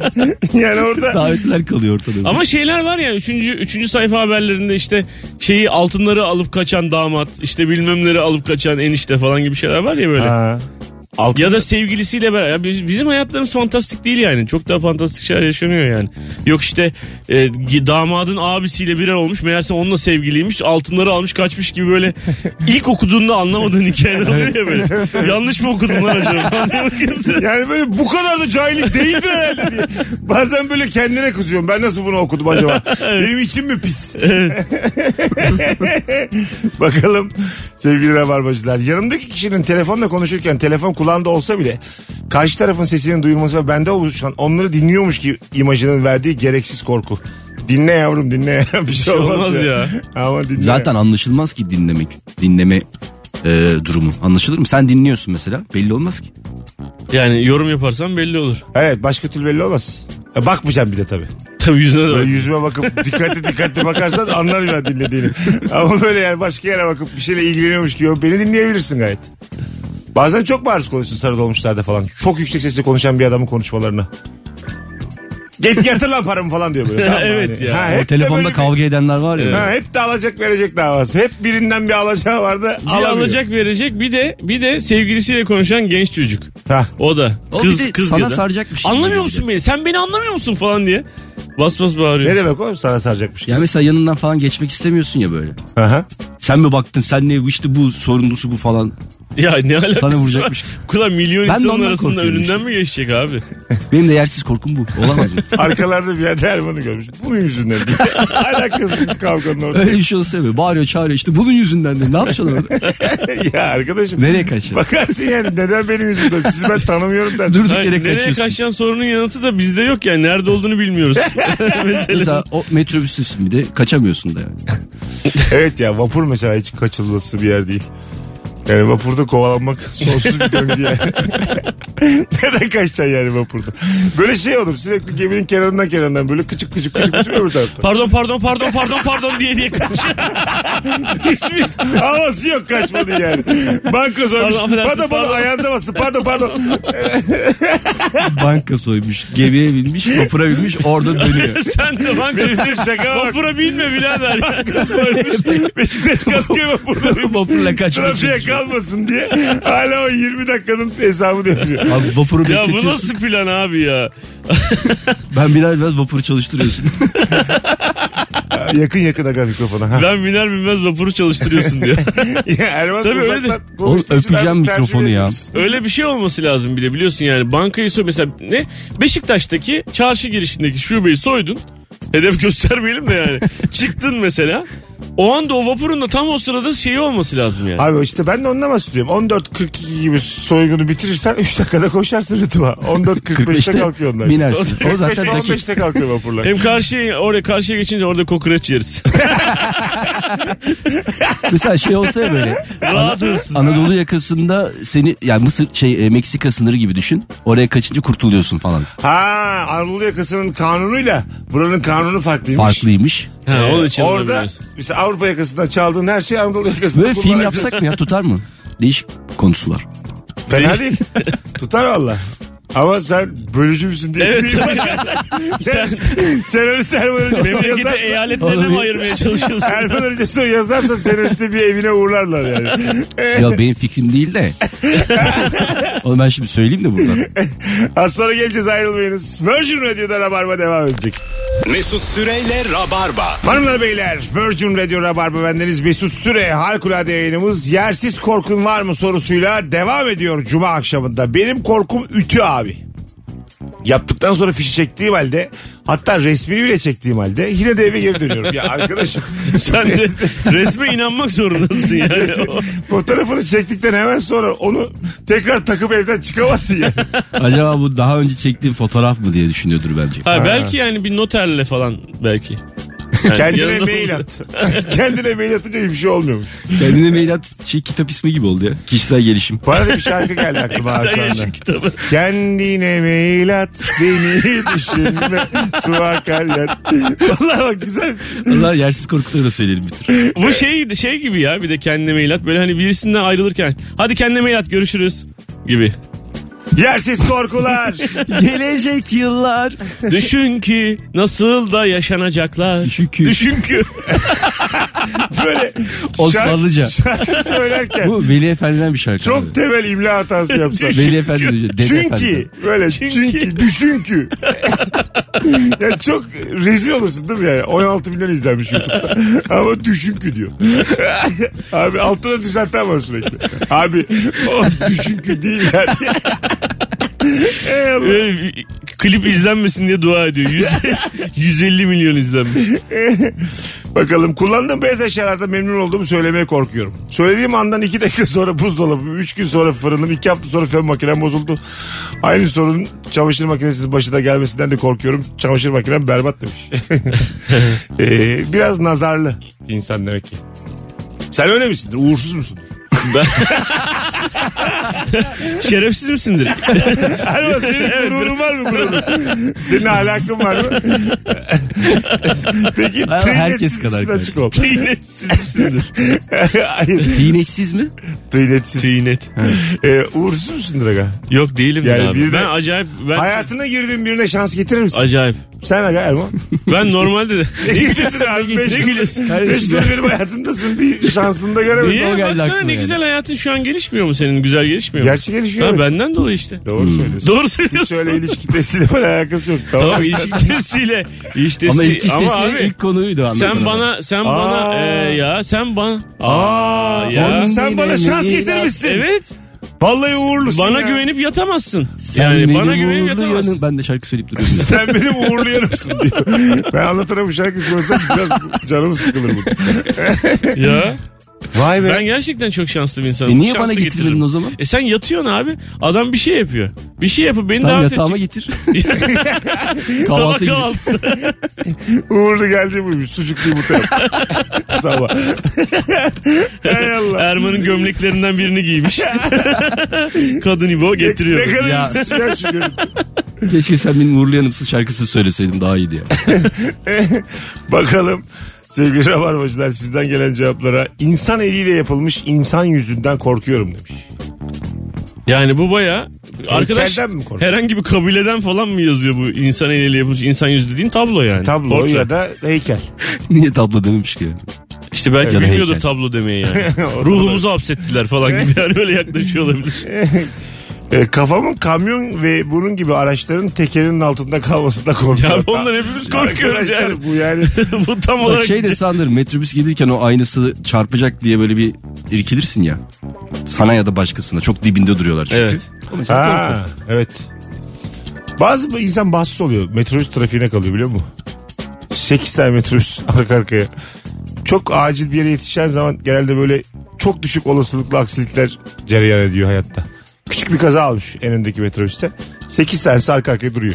B: yani orada
D: Davetler kalıyor ortada.
C: Ama şeyler var ya üçüncü, üçüncü sayfa haberlerinde işte şeyi altınları alıp kaçan damat işte bilmemleri alıp kaçan enişte falan gibi şeyler var ya böyle.
B: Ha. Altın-
C: Ya da sevgilisiyle beraber. Ya biz- Bizim hayatlarımız fantastik değil yani. Çok daha fantastik şeyler yaşanıyor yani. Yok işte e, gi- damadın abisiyle birer olmuş. Meğerse onunla sevgiliymiş. Altınları almış kaçmış gibi böyle. ilk okuduğunda anlamadığın hikayeler oluyor ya böyle. Yanlış mı okudun lan acaba? falan diye bakıyorsun.
B: yani böyle bu kadar da cahillik değildir herhalde diye. Bazen böyle kendine kızıyorum. Ben nasıl bunu okudum acaba? Benim içim mi pis? (laughs) Bakalım sevgili rabarbacılar. Yanımdaki kişinin telefonla konuşurken telefon kulağında olsa bile karşı tarafın sesinin duyulması ve bende oluşan onları dinliyormuş ki imajının verdiği gereksiz korku. Dinle yavrum dinle (laughs) ya. bir şey olmaz,
C: olmaz
B: ya. Ama dinle.
D: Zaten anlaşılmaz ki dinlemek. Dinleme e, durumu. Anlaşılır mı? Sen dinliyorsun mesela. Belli olmaz ki.
C: Yani yorum yaparsan belli olur.
B: Evet başka türlü belli olmaz. E, bakmayacağım bir de tabii.
C: Tabii yüzüne de
B: Böyle
C: bak.
B: yüzüme bakıp dikkatli dikkatli bakarsan anlar ben dinlediğini. Ama böyle yani başka yere bakıp bir şeyle ilgileniyormuş gibi beni dinleyebilirsin gayet. Bazen çok maruz konuşsun sarı dolmuşlarda falan. Çok yüksek sesle konuşan bir adamın konuşmalarına. Git yatır lan paramı falan diyor böyle. Tamam mı?
C: Evet ya.
B: Ha,
D: O
B: hep de
D: telefonda
B: böyle bir-
D: kavga edenler var ya.
B: Ha, hep de alacak verecek davası. Hep birinden bir şey alacağı vardı.
C: Bir
B: alamıyor.
C: alacak verecek bir de bir de sevgilisiyle konuşan genç çocuk.
B: Ha.
C: O da
D: O
C: kız
D: bir de
C: kız
D: sana
C: ya da.
D: saracak bir şey.
C: Anlamıyor
D: Yani
C: musun
D: bir
C: beni? Sen beni anlamıyor musun falan diye. Bas bas bağırıyor.
B: Ne demek oğlum sana saracakmış.
D: Ya mesela yanından falan geçmek istemiyorsun ya böyle.
B: Aha.
D: Sen mi baktın sen ne işte bu sorumlusu bu falan.
C: Ya ne alakası
D: Sana
C: var?
D: vuracakmış.
C: Kula milyon
D: Ben de
C: insanın
D: ondan
C: arasında
D: korkuyorum
C: önünden mi geçecek abi?
D: Benim de yersiz korkum bu. Olamaz mı?
B: Arkalarda bir yerde Erman'ı görmüş. Bunun yüzünden diye. (laughs) Alakasız bir kavganın orada.
D: (laughs) Öyle bir şey olsa böyle bağırıyor çağırıyor işte bunun yüzünden de ne yapacaksın orada?
B: ya arkadaşım.
D: (laughs) Nereye
B: (laughs)
D: kaçacaksın?
B: Bakarsın yani neden benim yüzümden sizi ben tanımıyorum dersin.
D: Durduk
C: Hayır,
D: yere
C: nereye
D: kaçıyorsun.
C: kaçan sorunun yanıtı da bizde yok yani. Nerede olduğunu
D: (laughs)
C: bilmiyoruz. (laughs) Mesela.
D: Mesela o metrobüstesin bir de kaçamıyorsun da yani.
B: Evet ya vapur mesela hiç kaçılması bir yer değil. Yani vapurda kovalanmak sonsuz bir döngü yani. (laughs) Neden kaçacaksın yani vapurda? Böyle şey olur sürekli geminin kenarından kenarından böyle kıçık kıçık kıçık kıçık öbür tarafta.
C: Pardon pardon pardon pardon pardon diye diye
D: (laughs)
C: kaçıyor.
B: Hiçbir havası yok kaçmadı yani. Banka soymuş.
C: Pardon, affedersin,
B: Pardon pardon
C: pardon.
B: ayağınıza bastı. Pardon pardon.
D: (laughs) Banka soymuş, gemiye binmiş, vapura binmiş orada dönüyor.
C: Sen de banka.
B: Bizim şaka bak.
C: Vapura binme birader. yani.
B: soymuş. Beşiktaş kalkıyor vapurda. demiş.
D: Vapurla kaçmak
B: Trafiğe kalmasın diye. Hala o 20 dakikanın hesabını yapıyor.
D: Abi vapuru
C: Ya bu
D: bekletiyorsun.
C: nasıl plan abi ya?
D: Ben birer biraz vapuru çalıştırıyorsun.
B: yakın yakın aga mikrofona. Ha.
C: Ben biner binmez vapuru çalıştırıyorsun diyor.
B: (laughs) Ya Erman
C: Tabii
B: uzaktan
C: öyle de-
B: konuştuğu
D: Oğlum
B: için
D: öpeceğim
B: artık tercih
D: mikrofonu ya.
B: ediyoruz.
C: Öyle bir şey olması lazım bir de biliyorsun yani bankayı soy mesela ne Beşiktaş'taki çarşı girişindeki şubeyi soydun. Hedef (laughs) göstermeyelim de yani. Çıktın mesela. O anda o vapurun da tam o sırada şeyi olması lazım yani.
B: Abi işte ben de onunla bahsediyorum. 14.42 gibi soygunu bitirirsen 3 dakikada koşarsın rıtıma. 14.45'te
D: 45'te
B: kalkıyor onlar.
D: binersin.
B: (laughs)
D: O zaten
B: 45'te,
D: dakika.
B: 15'te kalkıyor
C: (laughs)
B: vapurlar.
C: Hem karşıya oraya karşıya geçince orada kokoreç yeriz.
D: (laughs) Mesela şey olsa ya böyle.
C: Rahat hırsız.
D: Anadolu yakasında seni yani Mısır şey e, Meksika sınırı gibi düşün. Oraya kaçınca kurtuluyorsun falan.
B: Ha Anadolu yakasının kanunuyla buranın kanunu farklıymış.
D: Farklıymış.
C: (laughs) Ha, onun
B: Ee,
C: için
B: Orada
C: alabiliyoruz.
B: mesela Avrupa yakasından çaldığın her şey Anadolu yakasında
D: Böyle film
B: kullanabiliyorsun.
D: yapsak mı ya tutar mı? Değişik konusu var.
B: Fena değil.
D: (laughs)
B: Tutar valla. Ama sen bölücü müsün diye.
C: Evet. (laughs)
B: sen,
C: (laughs) Sen-
B: sen öyle Serman Hoca'yı
C: Memleketi
B: yazarsan-
C: eyaletlerine mi
D: Oğlum-
C: ayırmaya (laughs) çalışıyorsun?
B: Erman Hoca'sı yazarsa senariste bir evine uğrarlar yani.
D: Ya benim fikrim
C: (laughs)
D: değil de. Onu ben şimdi söyleyeyim de buradan.
B: Az sonra geleceğiz ayrılmayınız. Virgin Radio'da Rabarba devam edecek.
A: Mesut Süreyle Rabarba.
B: Hanımlar beyler Virgin Radio Rabarba bendeniz Mesut Süre harikulade yayınımız yersiz korkun var mı sorusuyla devam ediyor Cuma akşamında. Benim korkum ütü abi. Yaptıktan sonra fişi çektiğim halde hatta resmini bile çektiğim halde yine de eve geri dönüyorum. Ya arkadaşım
C: Sen de resme inanmak zorundasın (laughs) yani.
B: (laughs) fotoğrafını çektikten hemen sonra onu tekrar takıp evden çıkamazsın ya.
D: Acaba bu daha önce çektiğim fotoğraf mı diye düşünüyordur bence.
C: Ha, belki yani bir noterle falan belki. Yani
B: Kendine
C: yanında-
B: mail at. (laughs) Kendine mail atınca bir şey olmuyormuş.
D: Kendine mail at şey kitap ismi gibi oldu ya. Kişisel gelişim.
B: Bana da bir şarkı geldi aklıma ha
C: Sen
B: şu anda.
C: yaşın kitabı.
B: Kendine mail at beni düşünme su akar yat. Vallahi bak güzel.
D: Allah yersiz korkuları da söyleyelim bir tür.
C: Bu şey şey gibi ya bir de kendine mail at. Böyle hani birisinden ayrılırken hadi kendine mail at görüşürüz gibi.
B: Yersiz korkular.
D: Gelecek yıllar.
C: Düşün ki nasıl da yaşanacaklar.
D: Düşün ki.
C: Düşün ki.
B: Böyle
D: Osmanlıca.
B: Şarkı, şarkı söylerken
D: Bu Veli Efendi'den bir şarkı.
B: çok temel imla hatası yapsan.
D: Veli Efendi diyor. Dede
B: Çünkü
D: Efendi'den.
B: böyle çünkü,
C: Çünkü.
B: düşün ki. ya çok rezil olursun değil mi yani? 16 milyon izlenmiş YouTube'da. Ama düşün ki diyor. (laughs) Abi altına düzelten var sürekli. Abi o düşün ki değil yani. (laughs) Ey Allah.
C: Böyle (laughs) klip izlenmesin diye dua ediyor. Yüz- 150 milyon izlenmiş.
B: Bakalım kullandığım beyaz eşyalarda memnun olduğumu söylemeye korkuyorum. Söylediğim andan iki dakika sonra buzdolabım, üç gün sonra fırınım, iki hafta sonra fön makinem bozuldu. Aynı sorun çamaşır makinesinin başına gelmesinden de korkuyorum. Çamaşır makinem berbat
D: (laughs)
B: demiş. Ee, biraz nazarlı insan demek ki. Sen öyle misindir? Uğursuz
D: (laughs)
B: musundur?
C: Ben... Şerefsiz misindir?
B: Alo senin gururun var mı
D: (laughs)
B: gururun? Senin alakın var mı? Peki
D: Ama
B: tıynetsiz
D: herkes kadar
B: misin? açık ol.
C: Teynetsiz misindir?
B: (laughs) Hayır
D: Dineşsiz mi?
B: tıynetsiz.
C: Teynet.
B: Ee, uğursuz musundur aga?
C: Yok değilim
B: Yani
C: abi.
B: bir de-
C: Ben acayip... Ben...
B: Hayatına girdiğin birine şans getirir misin?
C: Acayip.
B: Sen aga
C: (laughs)
B: Erman.
C: Ben normalde de...
B: Ne gülüyorsun abi? Beş
C: Ne gülüyorsun?
B: yıl- Beş yıl benim hayatımdasın bir şansını da göremedim.
C: Niye?
D: O geldi
C: Baksana
D: aklıma
C: ne
D: yani.
C: güzel hayatın şu an gelişmiyor mu senin? Güzel gelişmiyor mu?
B: Gerçi gelişiyor.
C: Ha,
B: evet.
C: benden dolayı işte.
B: şey Doğru söylüyorsun.
C: Doğru
B: Hiç
C: söylüyorsun.
B: öyle ilişki testiyle falan alakası yok. Tamam.
C: Tamam ilişki testiyle. İlişki testi-
D: Ama ilk
C: Ama
D: istesi
C: abi
D: ilk konuydu anlatan adam.
C: sen bana sen bana
B: Aa.
C: e, ya sen bana.
B: Aa,
C: ya.
B: oğlum sen bana şans getirmişsin.
C: Evet.
B: Vallahi uğurlusun
C: Bana
B: ya.
C: güvenip yatamazsın.
D: Sen
C: yani
D: benim
C: bana güvenip
D: uğurlu
C: yatamazsın.
D: yanım- Ben de şarkı söyleyip duruyorum.
C: (laughs)
B: Sen benim uğurluyorumsun diyor. Ben anlatana bu şarkıyı söylesem biraz canım sıkılır bu.
D: (laughs)
C: Ya.
B: Vay be.
C: Ben gerçekten çok şanslı bir insanım.
D: E niye
C: Şanslı
D: bana getirdin
C: getiririm.
D: o zaman?
C: E sen yatıyorsun abi. Adam bir şey yapıyor. Bir şey yapıp beni
D: Tam
C: davet
D: yatağıma
C: edecek.
D: (laughs) getir.
C: Sabah
D: Kahvaltı gibi. (laughs)
C: kahvaltısı.
B: Uğurlu geldi buymuş. Sucuklu yumurta yaptı. (laughs) Sabah. (laughs) Hay Allah.
C: Erman'ın gömleklerinden birini
D: (laughs)
C: giymiş. Kadın İbo getiriyor.
B: Ne kadar
D: Ya.
B: üzücü ya şu görüntü.
D: Keşke sen benim uğurlu yanımsız şarkısını söyleseydin daha iyiydi ya.
B: Bakalım sevgili rabarbacılar sizden gelen cevaplara insan eliyle yapılmış insan yüzünden korkuyorum demiş.
C: Yani bu baya arkadaş
B: Heykelden mi korkuyor?
C: herhangi bir kabileden falan mı yazıyor bu insan eliyle yapılmış insan yüzü dediğin tablo yani.
B: Tablo
C: Portre.
B: ya da heykel.
D: (laughs) Niye tablo dememiş ki?
C: İşte belki
D: Ya da
C: bilmiyordur
D: heykel.
C: tablo demeyi yani.
B: O da
C: Ruhumuzu hapsettiler falan gibi yani öyle yaklaşıyor olabilir.
B: E, kafamın kamyon ve bunun gibi araçların tekerinin altında kalmasında korkuyorum.
C: Ya ondan hepimiz korkuyoruz
B: Arkadaşlar,
C: yani.
B: Bu yani
C: (laughs) bu tam
D: Bak
C: olarak
D: şey de sandır metrobüs gelirken o aynısı çarpacak diye böyle bir irkilirsin ya. Sana ya da başkasına çok dibinde duruyorlar çünkü.
C: Evet.
B: Ha, evet. Bazı bu insan bahtsız oluyor. Metrobüs trafiğine kalıyor biliyor musun? 8 tane metrobüs (laughs) arka arkaya. Çok acil bir yere yetişen zaman genelde böyle çok düşük olasılıklı aksilikler cereyan ediyor hayatta. Küçük bir kaza almış en öndeki metrobüste. 8 tanesi arka arkaya duruyor.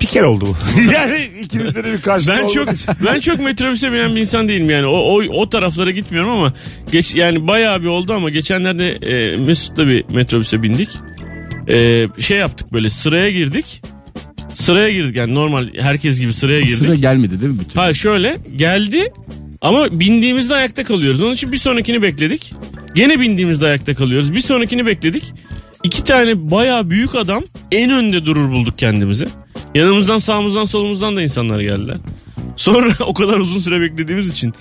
B: Bir kere oldu bu. (laughs) yani ikinizde de bir karşılık
C: Ben
B: olmadı.
C: çok (laughs) ben çok metrobüse binen bir insan değilim yani. O o, o taraflara gitmiyorum ama geç yani bayağı bir oldu ama geçenlerde e, Mesut'la bir metrobüse bindik. E, şey yaptık böyle sıraya girdik. Sıraya girdik yani normal herkes gibi sıraya girdik.
D: Sıra gelmedi değil mi bütün?
C: Hayır şöyle geldi ama bindiğimizde ayakta kalıyoruz. Onun için bir sonrakini bekledik. Gene bindiğimizde ayakta kalıyoruz. Bir sonrakini bekledik. İki tane bayağı büyük adam en önde durur bulduk kendimizi. Yanımızdan sağımızdan solumuzdan da insanlar geldiler. Sonra (laughs) o kadar uzun süre beklediğimiz için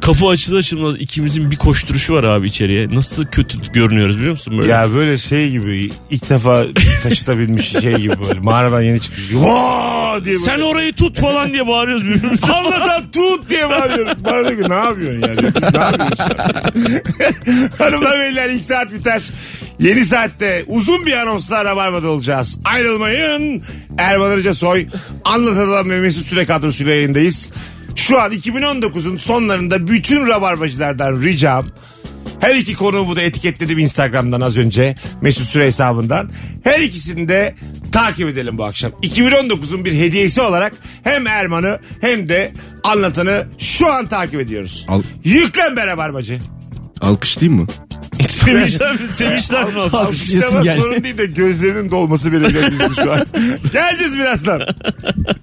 C: kapı açılır açılmaz ikimizin bir koşturuşu var abi içeriye. Nasıl kötü görünüyoruz biliyor musun böyle?
B: Ya böyle şey gibi ilk defa taşıta binmiş şey gibi böyle mağaradan yeni çıkmış. Vaa diye böyle.
C: Sen orayı tut falan diye bağırıyoruz
B: (laughs)
C: birbirimize. (laughs)
B: Allah'tan tut diye bağırıyorum. Bana diyor ki ne yapıyorsun yani? Biz ne yapıyoruz? (laughs) şu an? Hanımlar beyler ilk saat biter. Yeni saatte uzun bir anonsla Rabarba'da olacağız. Ayrılmayın. Erman Arıca Soy anlatılan ve Mesut Süre kadrosuyla yayındayız. Şu an 2019'un sonlarında bütün Rabarbacılardan ricam her iki konuğumu da etiketledim Instagram'dan az önce. Mesut Süre hesabından. Her ikisini de takip edelim bu akşam. 2019'un bir hediyesi olarak hem Erman'ı hem de anlatanı şu an takip ediyoruz.
D: Al.
B: Yüklen beraber bacı.
D: Alkışlayayım mı?
C: Sevinçler, sevinçler mi? oldu?
D: Alkışlayasım
B: İşte bak
D: geldi.
B: sorun değil de gözlerinin dolması belirlendi şu an. Geleceğiz birazdan.